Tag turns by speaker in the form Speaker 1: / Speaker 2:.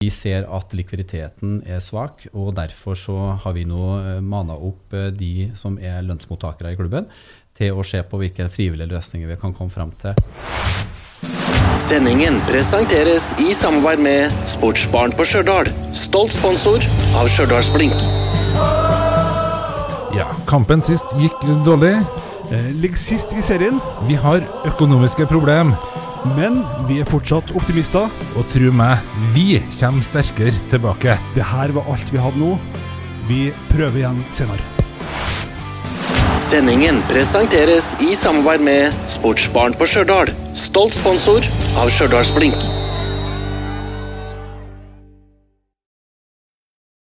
Speaker 1: Vi ser at likviditeten er svak, og derfor så har vi nå eh, mana opp eh, de som er lønnsmottakere i klubben, til å se på hvilke frivillige løsninger vi kan komme frem til.
Speaker 2: Sendingen presenteres i samarbeid med Sportsbarn på Stjørdal. Stolt sponsor av Stjørdalsblink.
Speaker 3: Ja, kampen sist gikk dårlig.
Speaker 4: Eh, Ligger sist i serien,
Speaker 3: Vi har økonomiske problem,
Speaker 4: men vi er fortsatt optimister.
Speaker 3: og tro meg, vi kommer sterkere tilbake.
Speaker 4: Det her var alt vi hadde nå. Vi prøver igjen senere.
Speaker 2: Sendingen presenteres i samarbeid med Sportsbarn på Stjørdal. Stolt sponsor av Stjørdalsblink.